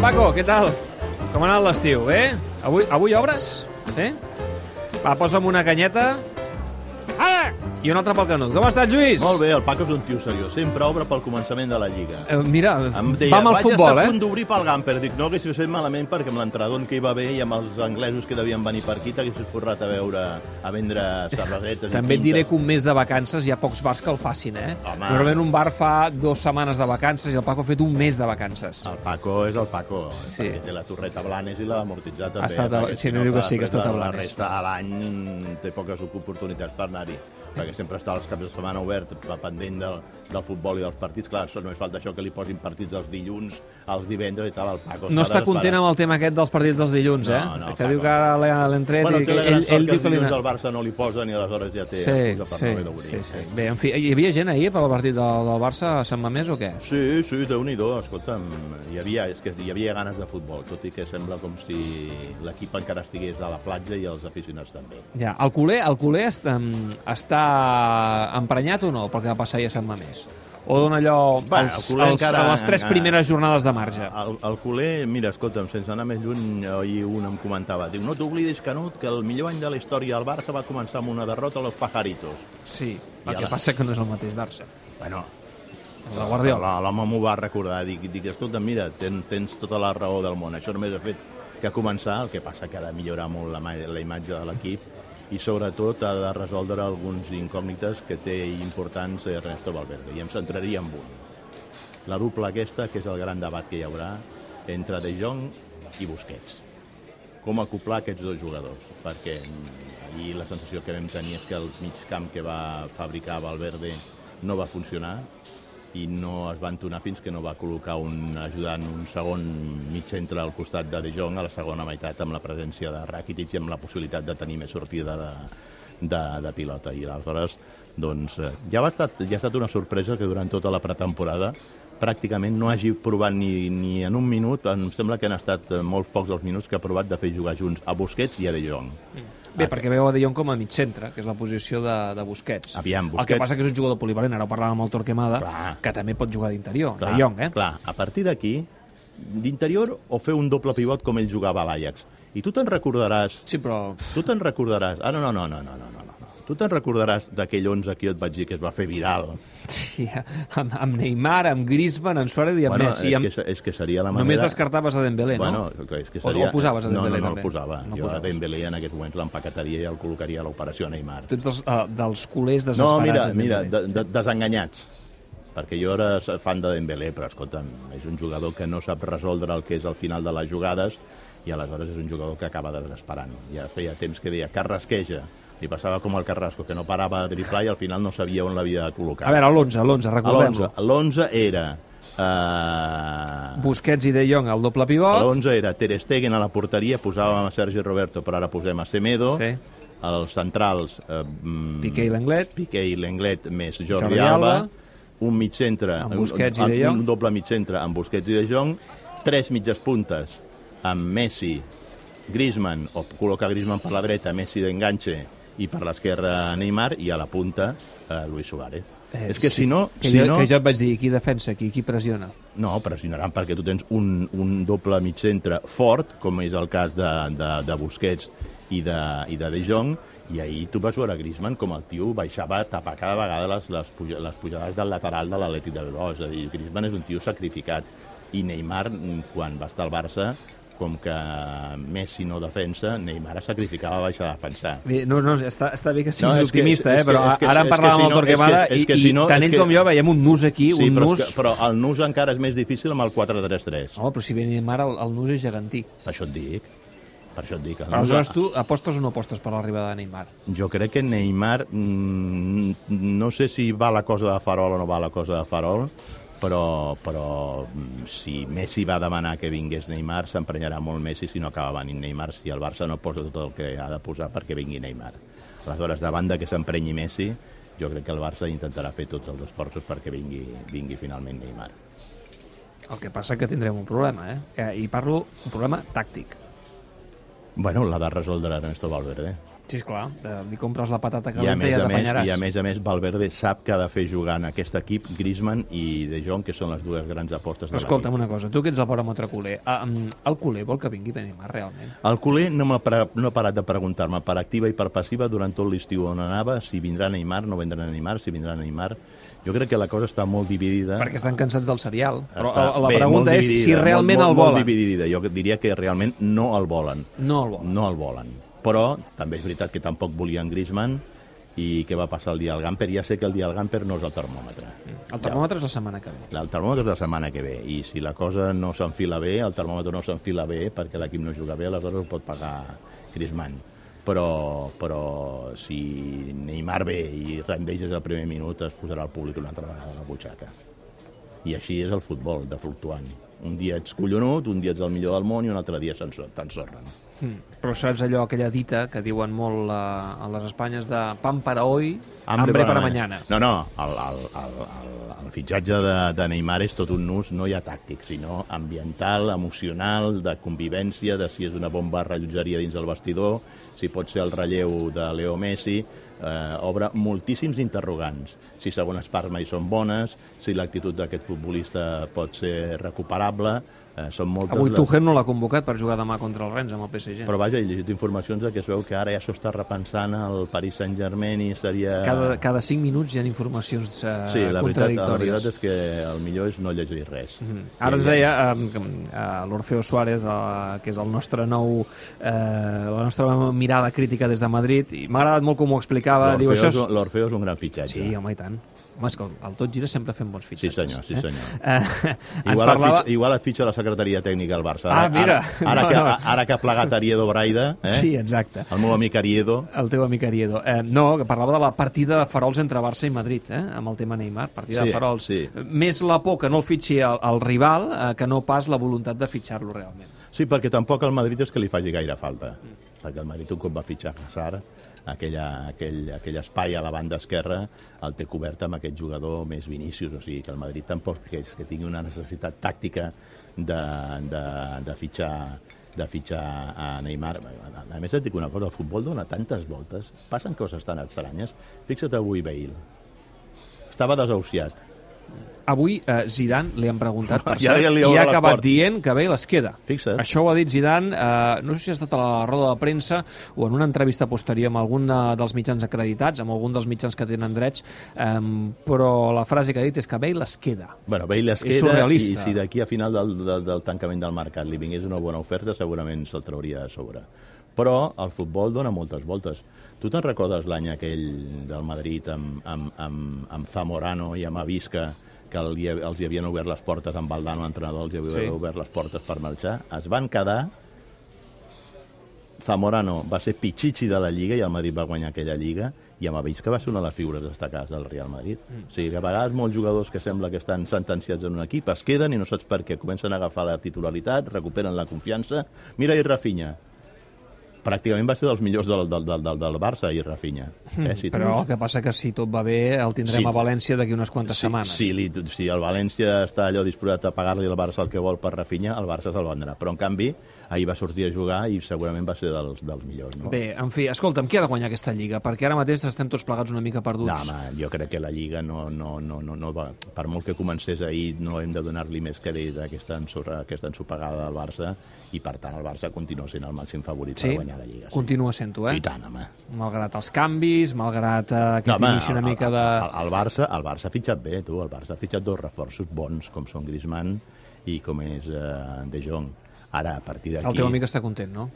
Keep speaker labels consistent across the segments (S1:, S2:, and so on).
S1: Paco, què tal? Com ha anat l'estiu, bé? Avui, avui obres? Sí? Va, posa'm una canyeta. Ara! I un altre pel canut. Com estàs, Lluís?
S2: Molt bé, el Paco és un tio seriós. Sempre obre pel començament de la Lliga.
S1: Eh, mira,
S2: Em deia,
S1: va amb el
S2: vaig
S1: futbol,
S2: estar a
S1: eh?
S2: punt d'obrir pel Gamper. Dic, no haguéssiu fet malament perquè amb l'entrenador que hi va haver i amb els anglesos que devien venir per aquí t'haguessis forrat a veure, a vendre cervesetes. i
S1: També et diré
S2: quintes.
S1: que un mes de vacances hi ha pocs bars que el facin, eh?
S2: Home.
S1: Normalment un bar fa dues setmanes de vacances i el Paco ha fet un mes de vacances.
S2: El Paco és el Paco,
S1: Sí.
S2: sí. perquè té la torreta Blanes i l'ha amortitzat també.
S1: Ha estat a-
S2: perquè
S1: sí,
S2: si
S1: no diu que sí, que ha estat a
S2: la-
S1: Blanes.
S2: La resta a l'any té poques oportunitats per anar-hi perquè sempre està els caps de setmana obert, va pendent del, del futbol i dels partits. Clar, això només falta això que li posin partits els dilluns, els divendres i tal, el Paco.
S1: No està content amb el tema aquest dels partits dels dilluns,
S2: No,
S1: eh?
S2: no,
S1: que
S2: Paco.
S1: diu que ara l'he- l'han tret
S2: Bueno,
S1: i
S2: té
S1: que
S2: la gran
S1: ell, ell
S2: sort que
S1: diu
S2: els
S1: que li...
S2: dilluns al Barça no li posen i aleshores ja té
S1: Sí,
S2: excusa per
S1: sí,
S2: no haver d'obrir.
S1: sí, sí. Bé, en fi, hi havia gent ahir per al partit del, del Barça a Sant Mamés o què?
S2: Sí, sí, déu-n'hi-do, escolta'm, hi havia, és que hi havia ganes de futbol, tot i que sembla com si l'equip encara estigués a la platja i els aficionats també.
S1: Ja, el culer, el culer està, està emprenyat o no pel que va passar ahir a Sant Mamés? O dona allò
S2: Va, el
S1: als,
S2: culer
S1: als,
S2: encara- Ah,
S1: a les tres
S2: encara-
S1: primeres jornades de marge?
S2: El, el culer, mira, escolta'm, sense anar més lluny, ahir un em comentava, diu, no t'oblidis, Canut, que el millor any de la història del Barça va començar amb una derrota a los pajaritos.
S1: Sí,
S2: I
S1: el que
S2: ara-
S1: passa que no és el mateix Barça.
S2: Bueno,
S1: El de Guardiola.
S2: Però L'home m'ho va recordar, dic, dic escolta, mira, tens, tens tota la raó del món, això només ha fet que començar, el que passa que ha de millorar molt la, ma- la imatge de l'equip i sobretot ha de resoldre alguns incògnites que té importants Ernesto Valverde, i em centraria en un. La dupla aquesta, que és el gran debat que hi haurà entre De Jong i Busquets. Com acoplar aquests dos jugadors, perquè mm, ahir la sensació que vam tenir és que el mig camp que va fabricar Valverde no va funcionar, i no es va entonar fins que no va col·locar un ajudant, un segon mig centre al costat de De Jong a la segona meitat amb la presència de Rakitic i amb la possibilitat de tenir més sortida de, de, de pilota. I aleshores, doncs, eh, ja ha, estat, ja ha estat una sorpresa que durant tota la pretemporada pràcticament no hagi provat ni, ni en un minut, em sembla que han estat eh, molt pocs els minuts que ha provat de fer jugar junts a Busquets i a De Jong. Ah.
S1: Bé, perquè veu a De Jong com a mig centre, que és la posició de, de Busquets.
S2: Aviam,
S1: El que
S2: Busquets-
S1: passa que és un jugador polivalent, ara ho parlàvem amb el Torquemada,
S2: Clar.
S1: que també pot jugar d'interior, De
S2: Clar,
S1: Jong, eh?
S2: Clar, a partir d'aquí, d'interior o fer un doble pivot com ell jugava a l'Ajax. I tu te'n recordaràs
S1: Sí, però...
S2: Tu te'n recordaràs... Ah, no, no, no, no, no, no, no. no. Tu te'n recordaràs d'aquell 11 que jo et vaig dir que es va fer viral?
S1: Sí, amb, amb Neymar, amb Griezmann, amb Suárez i amb
S2: bueno,
S1: Messi.
S2: és,
S1: amb...
S2: que, és que seria la manera...
S1: Només descartaves a Dembélé,
S2: bueno,
S1: no?
S2: clar, és que
S1: O- o
S2: seria...
S1: el posaves a Dembélé,
S2: No, no, no
S1: també?
S2: el posava.
S1: No
S2: No jo
S1: posaves.
S2: a Dembélé en aquests moments l'empaquetaria i el col·locaria a l'operació Neymar.
S1: Tu ets dels, uh, dels culers
S2: No,
S1: desesperats.
S2: mira,
S1: en
S2: mira,
S1: Dembélé.
S2: de, de, desenganyats. Perquè jo era fan de Dembélé, però escolta'm, és un jugador que no sap resoldre el que és el final de les jugades i aleshores és un jugador que acaba desesperant. Ja feia temps que deia, carrasqueja. Li passava com el Carrasco, que no parava de driblar i al final no sabia on l'havia de col·locar.
S1: A veure, l'11, l'11, recordem-lo.
S2: l'11 era... Eh,
S1: Busquets i De Jong al doble pivot.
S2: l'11 era Ter Stegen a la porteria, posàvem a Sergi Roberto, però ara posem a Semedo.
S1: Sí.
S2: Els centrals... Eh, mm,
S1: Piqué i l'Anglet.
S2: Piqué i l'Englet més Jordi,
S1: Jordi
S2: Jordi
S1: Alba.
S2: Alba, un mig centre...
S1: Amb Busquets i
S2: un,
S1: De Jong.
S2: Un doble mig centre amb Busquets i De Jong, tres mitges puntes amb Messi, Griezmann, o col·loca Griezmann per la dreta, Messi d'enganxe, i per l'esquerra Neymar, i a la punta eh, Luis Suárez. Eh, És que
S1: sí,
S2: si no...
S1: Que,
S2: si
S1: jo,
S2: no...
S1: que jo et vaig dir, qui defensa, qui, qui pressiona.
S2: No, pressionaran perquè tu tens un, un doble mig centre fort, com és el cas de, de, de Busquets i de, i de De Jong, i ahir tu vas veure Griezmann com el tio baixava a tapar cada vegada les, les, puja, les pujades del lateral de l'Atlètic de Bilbao. És a dir, Griezmann és un tio sacrificat. I Neymar, mm, quan va estar al Barça, com que Messi no defensa, Neymar es sacrificava a baixar a defensar.
S1: Bé, No, no, està, està bé que siguis
S2: No, és que-
S1: optimista, eh?
S2: és que-
S1: però
S2: és que-
S1: ara
S2: és
S1: en
S2: que
S1: parlàvem amb el
S2: si no- és que-
S1: Torquemada
S2: és que
S1: i,
S2: si
S1: i
S2: no-
S1: tant
S2: és
S1: ell
S2: que-
S1: com jo veiem un nus aquí,
S2: Sí,
S1: un
S2: però,
S1: nus...
S2: és que, però el nus encara és més difícil amb el 4-3-3.
S1: Home, però si ve Neymar, el, el nus és gegantí.
S2: Per això et dic. Per això et dic. El nus-
S1: Aleshores, tu apostes o no apostes per l'arribada de Neymar?
S2: Jo crec que Neymar, mm, no sé si va la cosa de farol o no va la cosa de farol, però, però mm, si Messi va demanar que vingués Neymar, s'emprenyarà molt Messi si no acaba venint Neymar, si el Barça no posa tot el que ha de posar perquè vingui Neymar. Aleshores, davant de que s'emprenyi Messi, jo crec que el Barça intentarà fer tots els esforços perquè vingui, vingui finalment Neymar.
S1: El que passa que tindrem un problema, eh? eh I parlo un problema tàctic.
S2: Bueno, l'ha de resoldre Ernesto Valverde.
S1: Sí, esclar, eh, li compres la patata
S2: I a,
S1: calenta i,
S2: més
S1: ja
S2: a més,
S1: t'apanyaràs.
S2: I a més a més, Valverde sap que ha de fer jugant aquest equip, Griezmann i De Jong, que són les dues grans apostes de
S1: Escolta'm
S2: l'equip.
S1: una cosa, tu que ets el baròmetre culer, ah, mm, el culer vol que vingui Benimar, realment?
S2: El culer no, m'ha pre- no ha parat de preguntar-me per activa i per passiva durant tot l'estiu on anava, si vindrà Neymar, no vindrà Neymar, si vindrà Neymar. Jo crec que la cosa està molt dividida.
S1: Perquè estan cansats del serial. Però
S2: Ah,
S1: eh,
S2: Està
S1: la
S2: bé,
S1: pregunta
S2: molt
S1: és si
S2: dividida,
S1: realment el
S2: molt, molt,
S1: volen.
S2: Molt dividida. Jo diria que realment no el volen.
S1: No el volen.
S2: No el volen. Però també és veritat que tampoc volien Griezmann i què va passar el dia al Gamper. Ja sé que el dia al Gamper no és el termòmetre.
S1: El termòmetre és la setmana que ve.
S2: El termòmetre és la setmana que ve i si la cosa no s'enfila bé, el termòmetre no s'enfila bé perquè l'equip no juga bé, aleshores ho pot pagar Griezmann. Però, però si Neymar ve i rendeix des del primer minut es posarà el públic una altra vegada a la butxaca. I així és el futbol, de fluctuant. Un dia ets collonut, un dia ets el millor del món i un altre dia s'enso- t'ensorren.
S1: Mm. Però saps allò, aquella dita que diuen molt a, a les Espanyes de pan para hoy, hambre,
S2: Hambre
S1: para mañana.
S2: No, no, el, el, el, el, el fitxatge de, de Neymar és tot un nus, no hi ha tàctic, sinó ambiental, emocional, de convivència, de si és una bomba rellotgeria dins del vestidor, si pot ser el relleu de Leo Messi, eh, obre moltíssims interrogants. Si segones parts mai són bones, si l'actitud d'aquest futbolista pot ser recuperable, eh, són moltes
S1: Avui
S2: les...
S1: Tuchel no l'ha convocat per jugar demà contra el Rennes amb el PSG.
S2: Però vaja, he llegit informacions de que es veu que ara ja s'ho està repensant el Paris Saint-Germain i seria...
S1: Cada, cada 5 minuts hi ha informacions eh,
S2: eh, Sí, la veritat,
S1: contradictòries. Mhm.
S2: la veritat és que el millor és no llegir res. Mm -hmm.
S1: Ara ens deia eh, l'Orfeo Suárez, eh, que és el nostre nou, eh, la nostra mirada crítica des de Madrid, i m'ha agradat molt com ho explicava. Diu, això és...
S2: L'Orfeo és un gran fitxatge.
S1: Sí, home, i tant. Home, és que el tot gira sempre fem bons fitxatges.
S2: senyor, sí, senyor.
S1: Eh? Eh, ens
S2: Igual,
S1: parlava...
S2: et fitxa, igual et fitxa la secretaria tècnica del Barça.
S1: Ah, mira.
S2: Ara, ara,
S1: No,
S2: que,
S1: no.
S2: ara que ha plegat Ariedo Braida, eh?
S1: Sí, exacte.
S2: el meu amic Ariedo,
S1: El teu amic Ariedo. Eh, no, que parlava de la partida de farols entre Barça i Madrid, eh, amb el tema Neymar. Partida
S2: Sí,
S1: de farols.
S2: sí.
S1: Més la por que no el fitxi el, el rival eh, que no pas la voluntat de fitxar-lo realment.
S2: Sí, perquè tampoc al Madrid és que li faci gaire falta. Perquè el Madrid un cop va fitxar Hazard, aquella, aquell, aquell espai a la banda esquerra el té cobert amb aquest jugador més Vinícius, o sigui que el Madrid tampoc és que tingui una necessitat tàctica de, de, de fitxar de fitxar a Neymar. A, a més, et dic una cosa, el futbol dona tantes voltes, passen coses tan estranyes. Fixa't avui Bale. Estava desahuciat.
S1: Avui eh, Zidane li han preguntat per
S2: I
S1: cert,
S2: ara ja li
S1: i
S2: obre
S1: ha
S2: la
S1: acabat
S2: porta.
S1: dient que Bale es queda.
S2: Fixa't.
S1: Això ho ha dit Zidane, eh, no sé si ha estat a la roda de premsa o en una entrevista posterior amb algun de, dels mitjans acreditats, amb algun dels mitjans que tenen drets, eh, però la frase que ha dit és que Bale es queda.
S2: Bueno, Bale es
S1: És
S2: queda i
S1: surrealista.
S2: si d'aquí a final del, del, del tancament del mercat li vingués una bona oferta segurament se'l trauria de sobre. Però el futbol dona moltes voltes. Tu te'n recordes l'any aquell del Madrid amb, amb, amb, amb Zamorano i amb Avisca que li, els hi havien obert les portes amb Valdano, l'entrenador, els hi havia
S1: Sí.
S2: sí. obert les portes per marxar. Es van quedar Zamorano va ser pitxitxi de la Lliga i el Madrid va guanyar aquella Lliga i amb Avells que va ser una de les figures destacades del Real Madrid. Mm. O sigui que a vegades molts jugadors que sembla que estan sentenciats en un equip es queden i no saps per què. Comencen a agafar la titularitat, recuperen la confiança. Mira i Rafinha. Pràcticament va ser dels millors del, del, del, del, del Barça i Rafinha. Eh? Si tu-
S1: Però el que passa que si tot va bé el tindrem
S2: Sí.
S1: a València d'aquí unes quantes
S2: si,
S1: setmanes.
S2: si, li, si el València està allò disposat a pagar-li al Barça el que vol per Rafinha, el Barça se'l vendrà. Però, en canvi, ahir va sortir a jugar i segurament va ser dels, dels millors. No?
S1: Bé, en fi, escolta'm, qui ha de guanyar aquesta Lliga? Perquè ara mateix estem tots plegats una mica perduts.
S2: No, home, jo crec que la Lliga no, no, no, no, no va... Per molt que comencés ahir, no hem de donar-li més crèdit a aquesta, ensorra, aquesta ensopegada del Barça i, per tant, el Barça continua sent el màxim favorit
S1: sí?
S2: per guanyar la Lliga.
S1: Continua sent-ho, eh?
S2: I tant, home.
S1: Malgrat els canvis, malgrat eh, aquest
S2: No, home,
S1: inici una
S2: el-
S1: mica
S2: el-
S1: de...
S2: El, el, Barça, el Barça ha fitxat bé, tu. El Barça ha fitxat dos reforços bons, com són Griezmann i com és eh, De Jong. Ara, a partir d'aquí...
S1: El teu amic està content, no?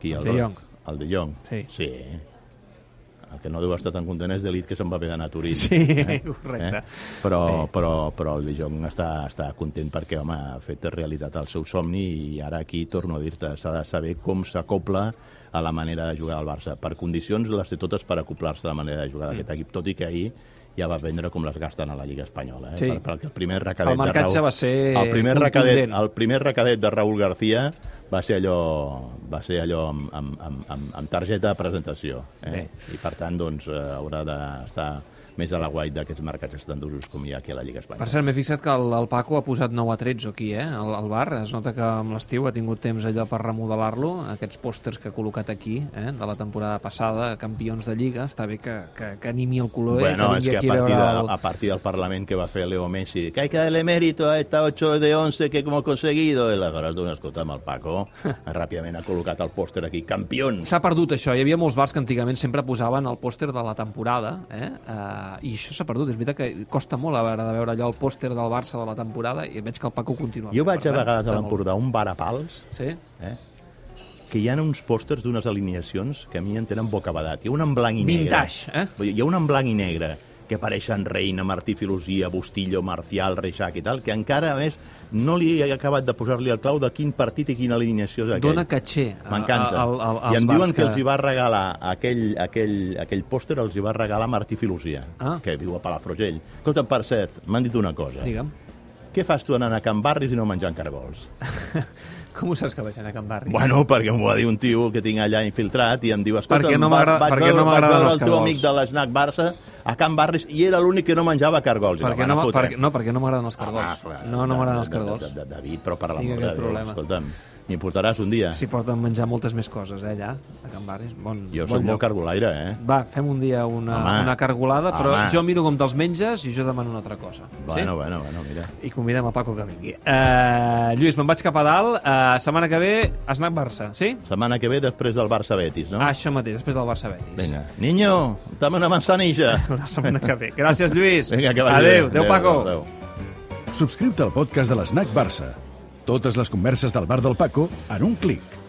S2: Qui,
S1: el De Jong.
S2: El De Jong,
S1: Sí.
S2: sí. El que no deu estar tan content és de l'It que se'n va haver d'anar a Turín. Eh?
S1: correcte.
S2: Però, però, però el De Jong està, està content perquè, home, ha fet realitat el seu somni i ara aquí, torno a dir-te, s'ha de saber com s'acopla a la manera de jugar al Barça. Per condicions les té totes per acoplar-se a la manera de jugar
S1: Mm.
S2: d'aquest equip, tot i que ahir ja va vendre com les gasten a la Lliga Espanyola. Eh?
S1: Sí.
S2: Per- Perquè el primer recadet
S1: El marcatge
S2: de Raúl,
S1: va ser
S2: el primer recadet,
S1: contundent.
S2: el primer recadet de Raúl García va ser allò, va ser allò amb, amb, amb, amb, amb targeta de presentació. Eh?
S1: Bé.
S2: I per tant, doncs, eh, haurà d'estar més a la guai d'aquests mercats estandosos com hi ha aquí a la Lliga
S1: Per
S2: Espanyola.
S1: cert, m'he fixat que el, el Paco ha posat 9 a 13 aquí, eh? Al, al bar. Es nota que amb l'estiu ha tingut temps allò per remodelar-lo, aquests pòsters que ha col·locat aquí, eh? De la temporada passada, campions de Lliga. Està bé que, que, que animi el color.
S2: Bueno,
S1: eh?
S2: es
S1: vingui
S2: que a
S1: aquí
S2: partir,
S1: veure
S2: de- a partir del Parlament que va fer Leo Messi, que hay que darle mérito a esta 8 de 11 que hemos conseguido, i aleshores, doncs, escolta'm, el Paco ràpidament ha col·locat el pòster aquí, campions!
S1: S'ha perdut això. Hi havia molts bars que antigament sempre posaven el pòster de la temporada, eh? Uh, i això s'ha perdut. És veritat que costa molt a veure, de veure allò el pòster del Barça de la temporada i veig que el Paco continua.
S2: Jo
S1: fent,
S2: vaig
S1: per
S2: a
S1: tant,
S2: vegades a
S1: està molt
S2: l'Empordà un bar a pals
S1: bé. Sí?
S2: eh? que hi ha uns pòsters d'unes alineacions que a mi em tenen bocabadat. Hi ha un en blanc i negre.
S1: Vintage, eh?
S2: Vull dir, Hi ha un en blanc i negre que apareixen Reina, Martí Filosia, Bustillo, Marcial, Reixac i tal, que encara, a més, no li he acabat de posar-li el clau de quin partit i quina alineació és aquell.
S1: Dona catxer a-
S2: M'encanta.
S1: a- al- al-
S2: I
S1: als
S2: em diuen
S1: bars
S2: que... els hi va regalar aquell, aquell, aquell pòster, els hi va regalar Martí Filosia,
S1: Ah.
S2: que viu a Palafrugell. Escolta, per cert, m'han dit una cosa.
S1: Digue'm.
S2: Què fas tu anant a Can Barris i no menjant cargols?
S1: Com ho saps que vaig anar a Can Barri?
S2: Bueno, perquè m'ho va dir un tio que tinc allà infiltrat i em diu, escolta,
S1: Perquè no
S2: va,
S1: m'agrada-
S2: vaig
S1: perquè
S2: veure,
S1: no
S2: vaig
S1: m'agraden
S2: veure
S1: els
S2: el teu
S1: cargols."
S2: amic de l'esnac Barça a Can Barris i era l'únic que no menjava cargols. I
S1: perquè
S2: la
S1: no,
S2: van a
S1: m'a-
S2: fotre.
S1: perquè, no, perquè no m'agraden els cargols.
S2: Home,
S1: no, no m'agraden els
S2: de- de-
S1: cargols.
S2: de- de- David, però per
S1: Tinc
S2: l'amor de
S1: aquest
S2: Déu,
S1: problema.
S2: escolta'm, m'hi portaràs un dia.
S1: S'hi porten menjar moltes més coses, eh, allà, a Can Barris. Bon,
S2: Jo
S1: bon
S2: sóc molt
S1: lloc.
S2: cargolaire, eh?
S1: Va, fem un dia una,
S2: Home.
S1: una cargolada, però
S2: Home.
S1: jo miro com te'ls menges i jo demano una altra cosa.
S2: Bueno, bueno, bueno, mira.
S1: sí? I convidem a Paco que vingui. Uh, Lluís, me'n vaig cap a dalt. Uh, setmana que ve, Snack Barça, sí?
S2: Setmana que ve després del Barça-Betis, no?
S1: Ah, això mateix, després del Barça Betis.
S2: Vinga. Niño, dame una manzanilla.
S1: La setmana que ve. Gràcies, Lluís.
S2: Vinga, que vagi bé.
S1: Adéu, adéu, Paco.
S2: adéu.
S3: Subscriu-te al podcast de l'Snac Barça. Totes les converses del bar del Paco en un clic.